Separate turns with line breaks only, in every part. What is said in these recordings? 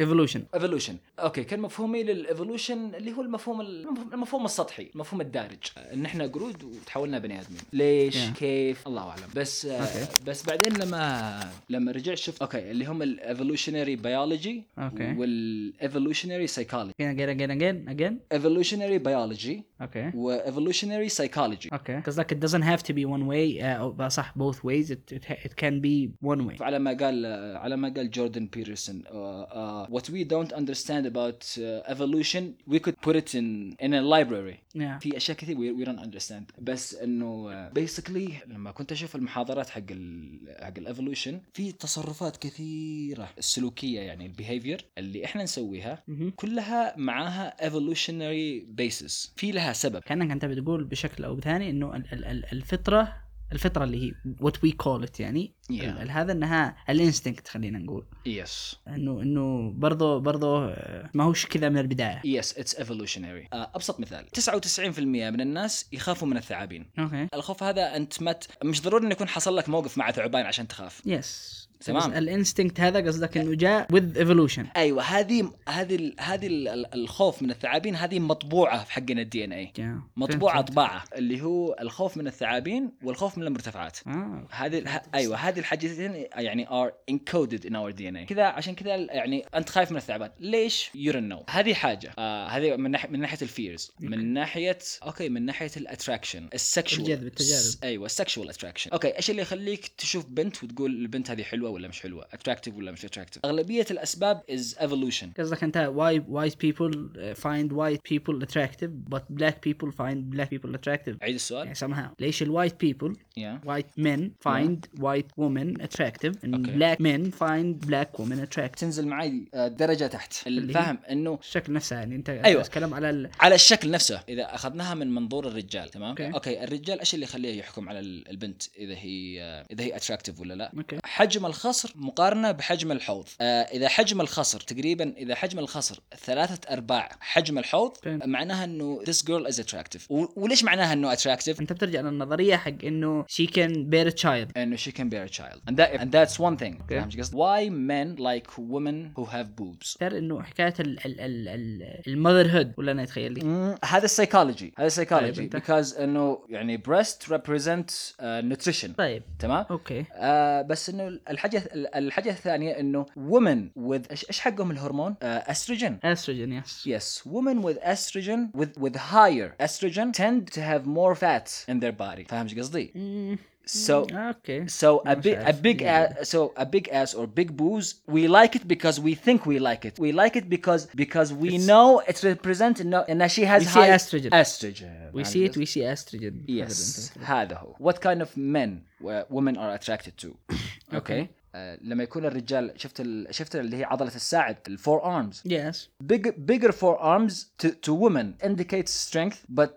ايفولوشن
ايفولوشن اوكي كان مفهومي للايفولوشن اللي هو المفهوم المفهوم السطحي المفهوم الدارج ان احنا قرود وتحولنا بني ادمين ليش
Yeah.
كيف الله اعلم بس
أوكي.
بس بعدين لما لما رجعت شفت اوكي اللي هم الايفولوشنري بيولوجي
أوكي.
والايفولوشنري سايكولوجي
again again again again again
ايفولوشنري بيولوجي
اوكي
وايفولوشنري سايكولوجي
اوكي قصدك it doesn't have to be one way uh, أو بقى صح both ways it, it, it can be one way
على ما قال على ما قال جوردن بيترسون uh, uh, what we don't understand about uh, evolution we could put it in in a library
yeah.
في اشياء كثير وي دونت اندرستاند بس انه بيسكلي لما كنت اشوف المحاضرات حق ال حق الايفولوشن في تصرفات كثيره السلوكيه يعني البيهيفير اللي احنا نسويها
مهم.
كلها معاها evolutionary basis في لها سبب
كانك انت بتقول بشكل او بثاني انه ال- ال- ال- الفطره الفطره اللي هي وات وي كول ات يعني
Yeah.
ال- ال- هذا انها الانستنكت خلينا نقول
يس
انه انه برضه برضه آه، ما هوش كذا من البدايه
يس اتس evolutionary آه، ابسط مثال 99% من الناس يخافوا من الثعابين
اوكي
الخوف هذا انت ما ت- مش ضروري انه يكون حصل لك موقف مع ثعبان عشان تخاف
يس
تمام.
الانستنكت هذا قصدك انه جاء وذ ايفولوشن
ايوه هذه هذه ال- هذه ال- ال- الخوف من الثعابين هذه مطبوعه في حقنا الدي ان اي مطبوعه طباعه اللي هو الخوف من الثعابين والخوف من المرتفعات
اه
هذه الح... ايوه هذه الحاجتين يعني ار انكودد ان اور دي ان اي كذا عشان كذا يعني انت خايف من الثعبان ليش يو نو هذه حاجه آه هذه من ناحيه من ناحيه الفيرز من ناحيه اوكي من ناحيه الاتراكشن السكشوال
الجذب، التجاذب.
ايوه السكشوال اتراكشن اوكي ايش اللي يخليك تشوف بنت وتقول البنت هذه حلوه ولا مش حلوه اتراكتيف ولا مش اتراكتيف اغلبيه الاسباب از ايفولوشن
قصدك انت why white people uh, find white people attractive but black people find black people attractive
عيد السؤال
يعني somehow ليش ال white people
يا
white men find white women attractive and
Okay.
black men find black women attractive
تنزل معي آه، درجه تحت
اللي هي؟
فاهم انه
الشكل نفسه يعني انت
أيوة.
تتكلم على ال...
على الشكل نفسه اذا اخذناها من منظور الرجال تمام
أوكي.
اوكي, أوكي. الرجال ايش اللي يخليه يحكم على ال- البنت اذا هي اذا هي اتراكتيف ولا لا
اوكي
حجم الخصر مقارنه بحجم الحوض آه اذا حجم الخصر تقريبا اذا حجم الخصر ثلاثه ارباع حجم الحوض
فهمت.
معناها انه this girl is attractive و- وليش معناها انه attractive
انت بترجع للنظريه حق انه she can bear a child
انه she can bear a child and, that, and that's one thing
أوكي.
فاهم ايش قصدي why men like women who have boobs
ترى انه حكايه ال ال ال ال المذرهود ولا انا اتخيل لي
مم، هذا السايكولوجي هذا السايكولوجي
طيب، انت-
because انه يعني breast represents uh, nutrition
طيب
تمام
اوكي
آه بس انه الحاجه الحاجه الثانيه انه women with ايش ايش حقهم الهرمون؟ آه estrogen
استروجين يس
Yes, women with estrogen with with higher estrogen tend to have more fat in their body. فاهم ايش قصدي؟
مم،
So
اوكي
so a
مش
big a
عارف.
big ass, so a big ass or big boobs we like it because we think we like it. We like it because because we
It's-
know it represents no, and that she has
We see
high
estrogen.
Estrogen.
we
فاهم
see it
قصدي؟
we see estrogen
Yes, هذا هو. What kind of men uh, women are attracted to?
Okay.
Okay. آه، لما يكون الرجال شفت ال... شفت اللي هي عضله الساعد الفور ارمز
yes
big bigger forearms to, to women indicates strength but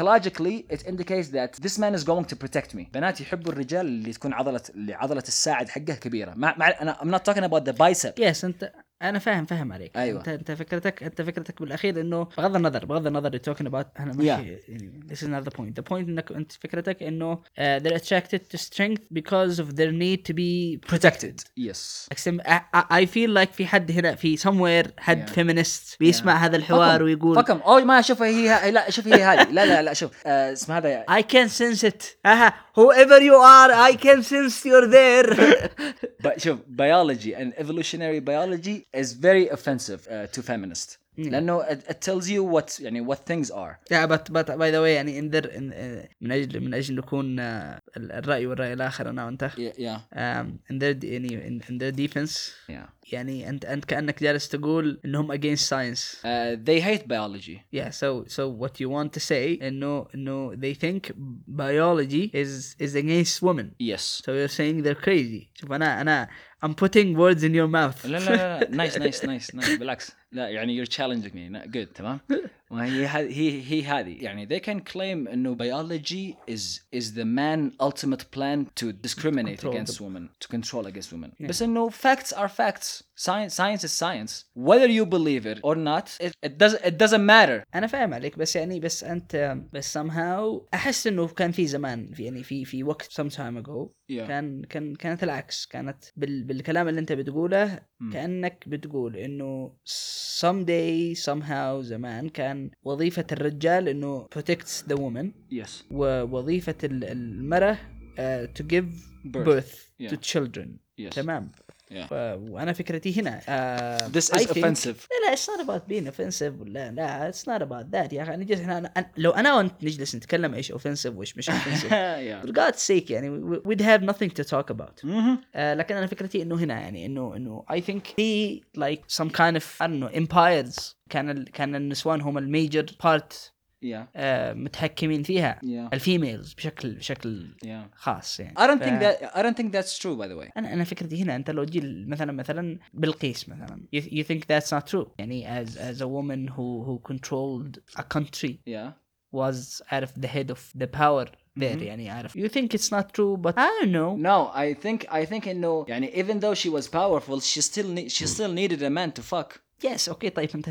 psychologically it indicates that this man is going to protect me بنات يحبوا الرجال اللي تكون عضله اللي عضله الساعد حقه كبيره ما مع... انا I'm not talking about the bicep
يس انت انا فاهم فاهم عليك
أيوة.
انت انت فكرتك انت فكرتك بالاخير انه بغض النظر بغض النظر توكن اباوت انا ماشي
Yeah.
يعني this is not the point the point انك انت فكرتك انه uh, they're attracted to strength because of their need to be protected
yes
أقسم- I- I- I feel like في حد هنا في somewhere حد
Yeah.
feminist بيسمع
Yeah.
هذا الحوار
فكم-
ويقول
فكم اوه ما شوف هي ه- لا شوف هي هذه لا لا لا شوف آه اسمها هذا
I can sense it اها whoever you are I can sense you're there
ب- شوف biology and evolutionary biology is very offensive uh, to feminists لانه it, it tells you what يعني what things are
لا بت بت باي ذا واي يعني انذر إن- آه، من اجل من اجل نكون آه، ال- الراي والراي الاخر انا وانت
yeah
um, in their يعني in, in their defense
yeah
يعني انت انت كانك جالس تقول انهم against science
uh, they hate biology
yeah so so what you want to say انه انه they think biology is is against women
yes
so you're saying they're crazy شوف انا انا I'm putting words in your mouth
لا لا لا نايس نايس نايس نايس بالعكس لا يعني you're challenging me لا، good تمام ما هي هذه- هي هي هذه يعني they can claim انه biology is is the man ultimate plan to discriminate
Control
against
the-
women to control against women
Yeah.
بس انه facts are facts science science is science whether you believe it or not it, it doesn't it doesn't matter
انا فاهم عليك بس يعني بس انت بس somehow احس انه كان في زمان في يعني في في وقت some time ago
yeah.
كان كان كانت العكس كانت بال بالكلام اللي انت بتقوله
مم.
كانك بتقول انه someday somehow زمان كان وظيفه الرجال انه protects the woman
yes
ووظيفه ال- المراه آه, to give
birth,
birth, to
Yeah.
children
yes
تمام
Yeah.
ف... وانا فكرتي هنا آه...
this
I
is
think-
offensive
لا لا اتس نوت اباوت بين اوفنسيف ولا لا اتس نوت اباوت ذات يا اخي انا جالس هنا يعني أنا... لو انا وانت نجلس نتكلم ايش اوفنسيف وايش مش اوفنسيف
yeah
for God's sake يعني we- we'd have nothing to talk about
Mhm.
آه لكن انا فكرتي انه هنا يعني انه انه I think he like some kind of I don't know empires كان ال... كان النسوان هم الميجر بارت
yeah
آه متحكمين فيها
yeah
الفيميلز بشكل بشكل
yeah
خاص يعني
I don't think
ف-
that I don't think that's true by the way
انا انا فكرتي هنا انت لو تجي مثلا مثلا بالقيس مثلا you, you think that's not true يعني as as a woman who who controlled a country
yeah
was عارف the head of the power there
Mhm.
يعني عارف you think it's not true but I don't know
No, I think I think انه يعني even though she was powerful she still ne- she still needed a man to fuck.
yes اوكي طيب انت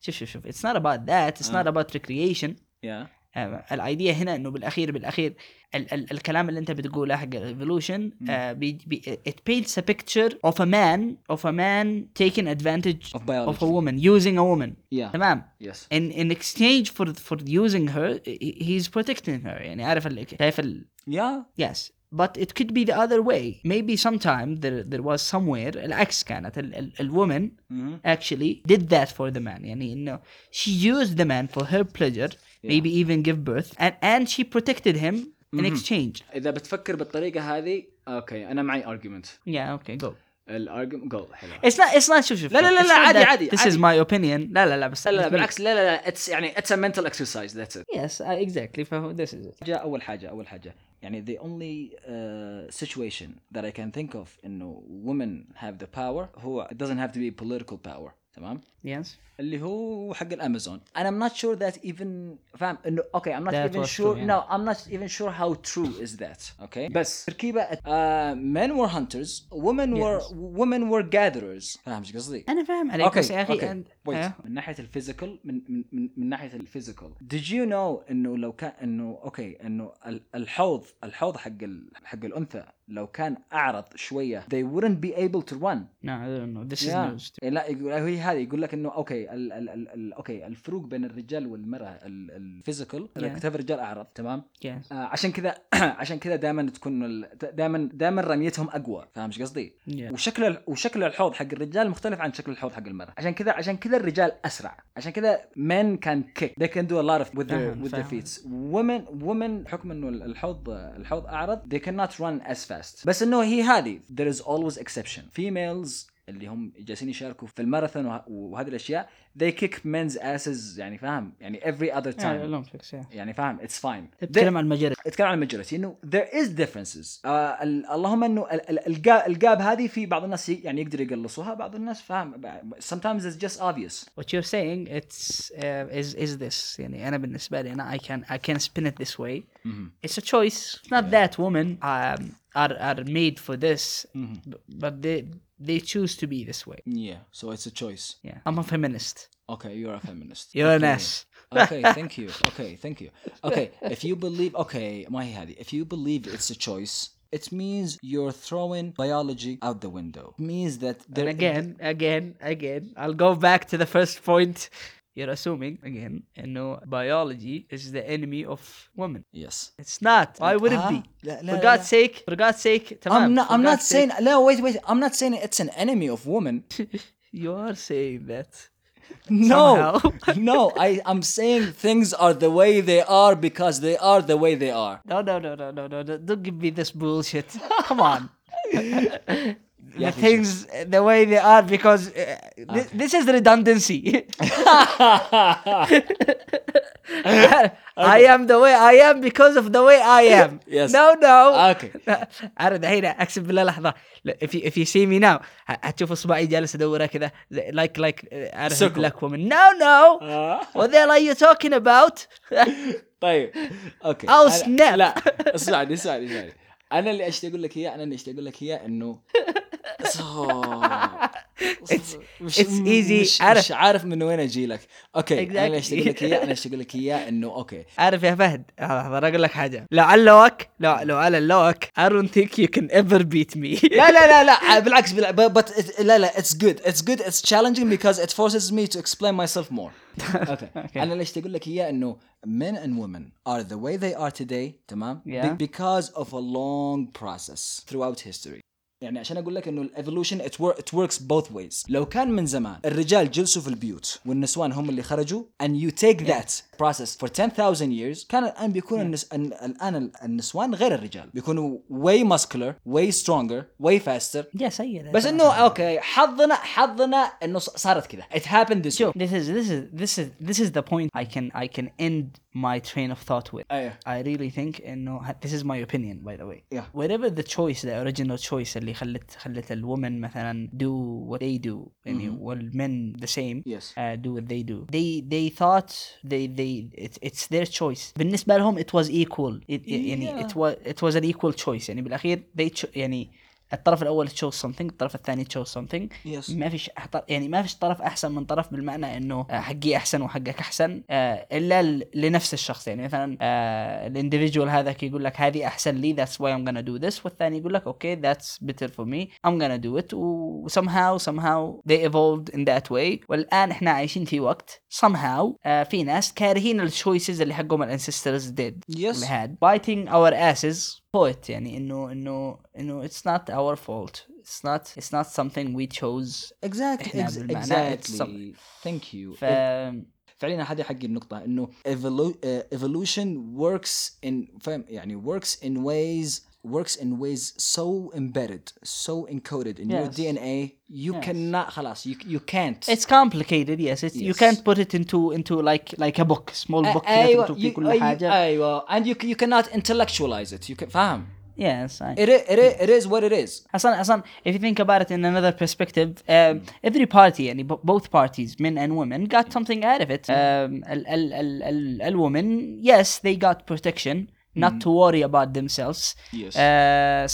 شوف شوف شوف it's not about that it's
آه.
not about recreation
Yeah.
آه، الايديا هنا انه بالاخير بالاخير ال- ال- الكلام اللي انت بتقوله حق الايفولوشن
مم.
it paints a picture of a man of a man taking advantage
Of biology.
of a woman using a woman
Yeah.
تمام
Yes.
in in exchange for for using her he- he's protecting her يعني عارف ال- شايف ال
Yeah.
yes but it could be the other way maybe sometime there there was somewhere العكس كانت ال, ال, ال woman
Mhm.
actually did that for the man يعني انه she used the man for her pleasure maybe even give birth and and she protected him in
Mhm.
exchange
إذا بتفكر بالطريقة هذه اوكي أنا معي argument.
yeah okay go
الargument go حلو.
it's not it's not شوف شوف
لا- لا- لا-
it's
لا،
not
عادي-
that
عادي-
this
عادي.
is my opinion لا لا لا بس
لا لا
it's me.
بالعكس لا لا لا it's يعني it's a mental exercise that's it.
yes uh, exactly فهو- this is it
جاء أول حاجة أول حاجة يعني the only uh, situation that I can think of إنه women have the power هو it doesn't have to be political power تمام؟
yes
اللي هو حق الامازون انا I'm not sure that even فاهم انه اوكي I'm not
That
even
was
sure
true, yeah.
no I'm not even sure how true is that okay بس تركيبه uh, men were hunters women were
Yes.
women were gatherers فاهم ايش قصدي؟
انا فاهم عليك بس يا اخي
اوكي اوكي
أنت- أيوه.
wait. من ناحيه الفيزيكال من من من, من ناحيه الفيزيكال did you know انه لو كان انه اوكي انه ال- الحوض الحوض حق ال... حق الانثى لو كان اعرض شويه they wouldn't be able to run
No, I don't know. This
Yeah.
is news. to-
إيه لا يقول هي هذه يقول لك انه اوكي ال ال ال ال اوكي الفروق بين الرجال والمراه الفيزيكال
Yeah.
كتف الرجال اعرض تمام
Yes.
آه عشان كذا عشان كذا دائما تكون دائما دائما رميتهم اقوى فاهم ايش قصدي؟
Yeah.
وشكل ال- وشكل الحوض حق الرجال مختلف عن شكل الحوض حق المراه عشان كذا عشان كذا الرجال اسرع عشان كذا men can kick they can do a lot of with their
فاهم،
with their
فاهم.
feet women women بحكم انه الحوض الحوض اعرض they cannot run as fast بس انه هي هذه there is always exception females اللي هم جالسين يشاركوا في الماراثون وه- وهذه الاشياء they kick men's asses يعني فاهم يعني every other
Yeah,
time
Olympics, yeah.
يعني فاهم it's fine
تتكلم عن مجرد
اتكلم عن الماجوريتي انه there is differences آه ال- اللهم انه ال- ال- الجا- الجاب هذه في بعض الناس ي- يعني يقدر يقلصوها بعض الناس فاهم sometimes it's just obvious
what you're saying it's uh, is is this يعني انا بالنسبه لي انا I can I can spin it this way
Mm-hmm.
it's a choice it's not that women um, are are made for this
Mm-hmm.
b- but they they choose to be this way
yeah so it's a choice
yeah I'm a feminist
okay you're a feminist
you're an ass
okay thank you okay thank you okay if you believe okay ما هي هذه if you believe it's a choice it means you're throwing biology out the window it means that
and again again again I'll go back to the first point you're assuming again انه biology is the enemy of women
yes
it's not why would it
آه،
be
لا- لا-
for
لا.
God's sake for God's sake تمام
I'm not
for
I'm not
God's sake.
saying no wait wait I'm not saying it's an enemy of women
you are saying that
No, no. I I'm saying things are the way they are because they are the way they are.
No, no, no, no, no, no, no. Don't give me this bullshit. Come on. the things the way they are because uh, thi- this is redundancy. I am the way I am because of the way I am.
Yes. Ah.
No, no.
اوكي
انا دحين اقسم بالله لحظه لا، if you, if you see me now ه- هتشوف اصبعي جالس ادورها كذا لايك لايك عارف
Circle.
بلاك وومن نو نو
آه.
What the hell are you talking about?
طيب اوكي
أو
أنا-
snap.
لا اسمعني اسمعني اسمعني انا اللي اشتي اقول لك اياه انا اللي اشتي اقول لك اياه انه
It's-
مش
it's easy.
مش,
عارف.
مش عارف من وين اجي لك اوكي انا اللي اشتي
Exactly.
اقول لك اياه انا اشتي اقول لك اياه انه اوكي
عارف يا فهد لحظه أنا اقول لك حاجه لو على اللوك لو لو على اللوك I don't think you can ever beat me
لا لا لا لا بالعكس بالعكس but لا لا it's good it's good it's challenging because it forces me to explain myself more. Okay. انا ليش تقول لك اياه انه men and women are the way they are today تمام؟
Yeah.
Be- because of a long process throughout history. يعني عشان اقول لك انه الايفولوشن it, wor- it works both ways. لو كان من زمان الرجال جلسوا في البيوت والنسوان هم اللي خرجوا and you take that process for 10,000 years كان الان بيكون النس... ال- الان ال- النسوان غير الرجال بيكونوا way muscular, way stronger, way faster
يا سيد
بس انه اوكي حظنا حظنا انه ص- صارت كذا it happened this way.
شوف this is this is this is this is the point I can I can end my train of thought with.
ايوه
I really think انه this is my opinion by the way.
Yeah.
Whatever the choice the original choice اللي خلت خلت الwomen مثلا do what they do يعني والmen the same
Mm-hmm. Yes.
uh, do what they do. They they thought they they it, it's their choice. بالنسبة لهم it was equal. It, it, يعني
Yeah.
it was it was an equal choice يعني بالاخير they cho- يعني الطرف الاول chose something الطرف الثاني chose something
Yes.
ما فيش أحط- يعني ما فيش طرف احسن من طرف بالمعنى انه آه، حقي احسن وحقك احسن آه، الا ل- لنفس الشخص يعني مثلا الانديفيدوال هذاك يقول لك هذه احسن لي that's why I'm gonna do this والثاني يقول لك اوكي that's better for me I'm gonna do it و somehow somehow they evolved in that way والان احنا عايشين في وقت somehow آه، في ناس كارهين الشويسز اللي حقهم الانسسترز did
Yes.
we had biting our asses for it يعني انه انه انه it's not our fault it's not it's not something we chose
exactly
إحنا
ex-
بالمعنى it's
exactly
some-
thank you
ف
فعليا هذه حقي النقطة انه evolu- uh, evolution works in فاهم يعني works in ways works in ways so embedded so encoded in your
Yes.
DNA you
Yes.
cannot خلاص you, you can't
it's complicated yes, it's, you
Yes.
can't put it into into like like a book small book كده تكتب فيه
you-
كل حاجة
ايوه and you, you cannot intellectualize it you can, فاهم
yes I-
it, i- it, i- it is what it is
اصلا اصلا if you think about it in another perspective um, every party يعني bo- both parties men and women got something out of it um, ال ال ال ال الwomen yes they got protection not to worry about themselves
Yes.
uh,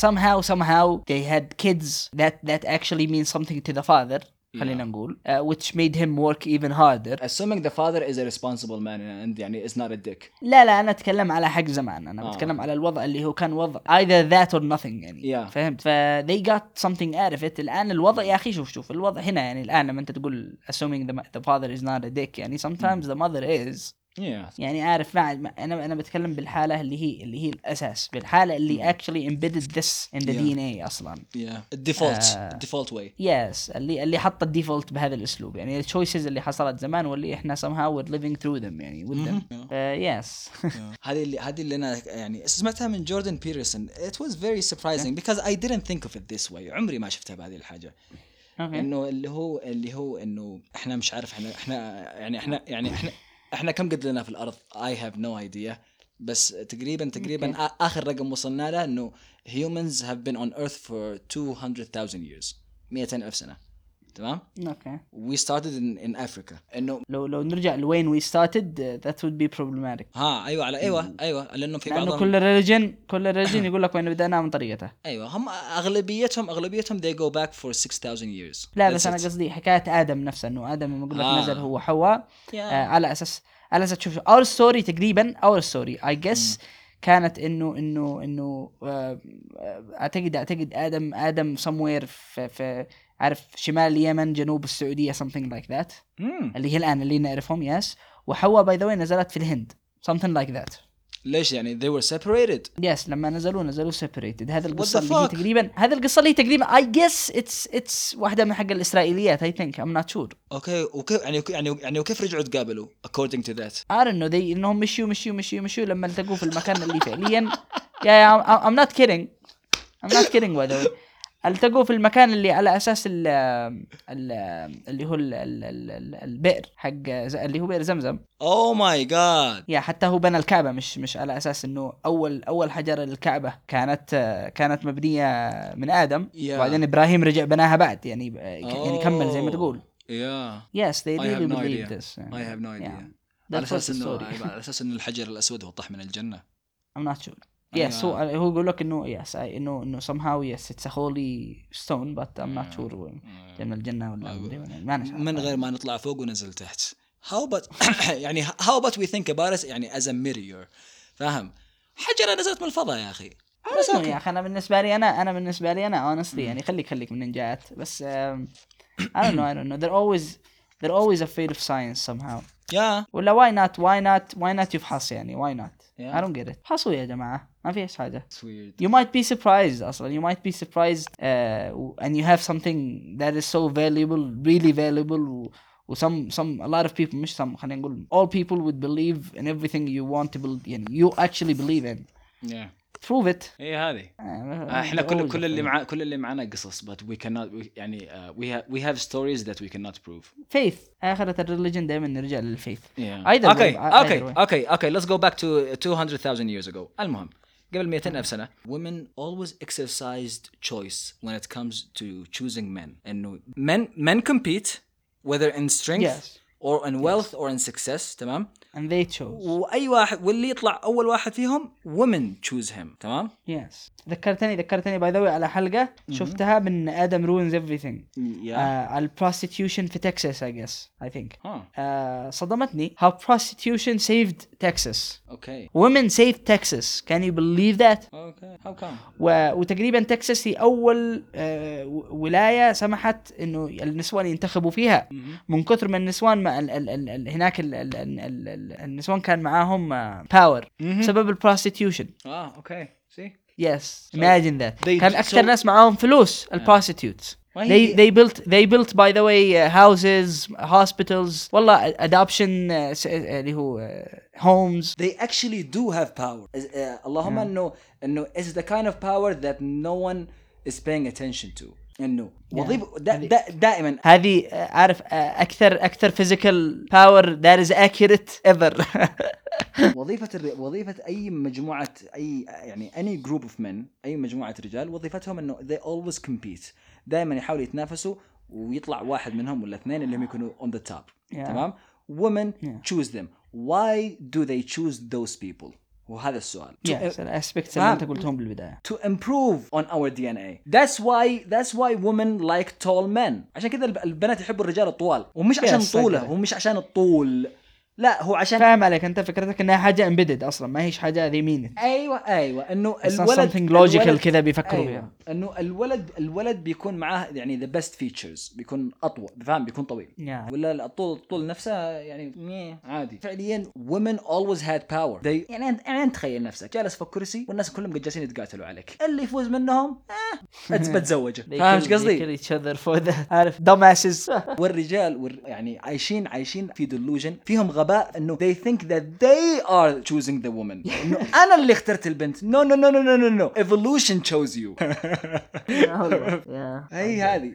somehow somehow they had kids that that actually means something to the father خلينا نقول uh, which made him work even harder
assuming the father is a responsible man and يعني is not a dick
لا لا انا اتكلم على حق زمان انا
آه.
آه. بتكلم على الوضع اللي هو كان وضع either that or nothing يعني
Yeah.
فهمت ف they got something out of it الان الوضع يا اخي شوف شوف الوضع هنا يعني الان لما انت تقول assuming the, the father is not a dick يعني sometimes the mother is
yeah
يعني عارف ما ما- انا انا بتكلم بالحاله اللي هي اللي هي الاساس بالحاله اللي actually embedded this in the
Yeah.
DNA اصلا
yeah default
آه.
default way
يس اللي اللي حط الديفولت بهذا الاسلوب يعني التشويسز اللي حصلت زمان واللي احنا somehow we're living through them يعني with them
مهم.
يس
هذه اللي هذه اللي انا يعني سمعتها من جوردن بيترسون it was very surprising because I didn't think of it this way عمري ما شفتها بهذه الحاجه
اوكي
انه اللي هو اللي هو انه احنا مش عارف احنا احنا يعني احنا يعني احنا احنا كم قد لنا في الارض I have no idea بس تقريبا تقريبا آ- اخر رقم وصلنا له انه humans have been on earth for 200,000 years 200,000 سنه تمام
اوكي
we started in, in Africa انه
لو لو نرجع لوين وي ستارتد ذات وود بي بروبلماتيك
ها ايوه على ايوه ايوه لانه في
لانه
بعضهم
كل ريليجن كل ريليجن يقول لك وين بدأنا من طريقته
ايوه هم اغلبيتهم اغلبيتهم they go back for 6000 years
لا
That's
بس انا
it.
قصدي حكايه ادم نفسه انه ادم لما يقول لك
آه.
نزل هو حواء آه،
Yeah.
على اساس على اساس تشوف اور ستوري تقريبا اور ستوري اي جس كانت انه انه انه آه، آه، اعتقد اعتقد ادم ادم سموير في في عارف شمال اليمن جنوب السعوديه something like that
مم.
اللي هي الان اللي نعرفهم يس وحواء باي ذا نزلت في الهند something like that
ليش يعني they were separated
يس لما نزلوا نزلوا سيبريتد هذا
the
القصه اللي هي
fuck?
تقريبا هذا القصه اللي هي تقريبا اي جس اتس اتس واحده من حق الاسرائيليات اي ثينك ام نوت شور
اوكي وكيف يعني يعني يعني وكيف رجعوا تقابلوا according to that
ار انه ذي انهم مشيوا مشيوا مشيوا مشيوا لما التقوا في المكان اللي فعليا يا ام نوت كيدنج ام نوت كيدنج باي ذا التقوا في المكان اللي على اساس ال ال اللي هو ال- ال- ال- ال- البئر حق ز- اللي هو بئر زمزم
اوه ماي جاد
يا حتى هو بنى الكعبه مش مش على اساس انه اول اول حجر الكعبه كانت كانت مبنيه من ادم
Yeah.
وبعدين ابراهيم رجع بناها بعد يعني يعني كمل زي ما
Oh.
تقول
يا
Yes, they
I
really
have no
believe
idea.
this.
I have no idea.
Yeah.
على
That was
اساس
the
انه
story.
على اساس انه الحجر الاسود وضح من الجنه
I'm not sure. Yes, هو هو يقول لك انه yes, I انه انه somehow yes it's a holy stone but I'm not
Yeah.
sure when-
آه.
جاي من الجنة ولا
ما
مدري وين، ما أنا شايف.
من غير ما نطلع فوق وننزل تحت how about يعني how about we think about it يعني as a mirror فاهم حجره نزلت من الفضاء يا اخي
بس أوكي، يا اخي انا بالنسبه لي انا انا بالنسبه لي انا
Mm.
honestly يعني خليك خليك من النجات بس um, I don't know I don't know they're always they're always afraid of science somehow
يا
ولا why not why not why not يفحص يعني why not
Yeah.
I don't get it فحصوا يا جماعه ما فيش حاجه
It's weird.
you might be surprised اصلا you might be surprised uh, and you have something that is so valuable really valuable و- و some some a lot of people مش some خلينا نقول all people would believe in everything you want to believe يعني you actually believe in
Yeah.
prove it
هي إيه هذه
آه،
احنا
they're
كل
always
كل اللي
afraid.
مع كل اللي معنا قصص but we cannot we, يعني uh, we have we have stories that we cannot prove.
faith آخرة الريليجن دائما نرجع للفيث
Yeah.
Either
okay,
way, I-
okay,
either way.
okay, okay. Let's go back to 200,000 years ago. المهم قبل 200 ألف سنة women always exercised choice when it comes to choosing men. إنه men men compete whether in strength
Yes.
or in wealth or in success تمام؟
and they chose
وأي واحد واللي يطلع أول واحد فيهم women choose him تمام؟
yes ذكرتني ذكرتني باي ذا على حلقة شفتها من ادم ruins everything
Yeah.
آه، البروستيوشن في تكساس I guess I think
ها
آه، صدمتني how prostitution saved Texas
اوكي
women saved Texas can you believe that
اوكي how come؟
و... وتقريبا تكساس هي اول آه، و- ولايه سمحت انه النسوان ينتخبوا فيها من كثر ما النسوان ما ال... ال... ال... ال... هناك ال... ال... ال... ال... ال... النسوان كان معاهم آه، باور بسبب البروستيوشن
اه اوكي سي
يس imagine that
they-
كان اكثر
so-
ناس معاهم فلوس البروستيوتس
ما
they
هي-
they built they built by the way uh, houses hospitals والله adoption uh, s- uh, اللي هو uh, homes
they actually do have power Is- uh, اللهم انه انه is the kind of power that no one is paying attention to انه وظيفه دا دا دائما
هذه uh, عارف uh, اكثر اكثر physical power that is accurate ever
وظيفه الر- وظيفه اي مجموعه اي يعني any group of men اي مجموعه رجال وظيفتهم انه they always compete دائما يحاولوا يتنافسوا ويطلع واحد منهم ولا اثنين اللي هم يكونوا on the top
Yeah.
تمام women
Yeah.
choose them why do they choose those people وهذا السؤال To-
yes الاسبكتس اللي
فاهم.
انت قلتهم بالبدايه
to improve on our DNA. That's why that's why women like tall men. عشان كذا الب- البنات يحبوا الرجال الطوال ومش عشان
Yes, I
طوله
get it.
ومش عشان الطول لا هو عشان
فاهم عليك انت فكرتك انها حاجه امبيدد اصلا ما هيش حاجه they mean it
ايوه ايوه انه
it's not
الولد
something logical
الولد-
كذا بيفكروا
أيوة.
فيها
انه الولد الولد بيكون معاه يعني ذا بيست فيتشرز بيكون اطول فاهم بيكون طويل
Yeah.
يعني. ولا الطول الطول نفسه يعني ميه، عادي فعليا women always had power They- يعني انت يعني انت تخيل نفسك جالس في الكرسي والناس كلهم قد جالسين يتقاتلوا عليك اللي يفوز منهم اه أت- بتزوجه
They
فاهم
kill-
ايش قصدي؟
they kill each other for that عارف dumbasses
والرجال وال... يعني عايشين عايشين في ديلوجن فيهم غباء انه they think that they are choosing the woman انه انا اللي اخترت البنت no no no no no no no evolution chose you
يا الله. يا.
هي هذه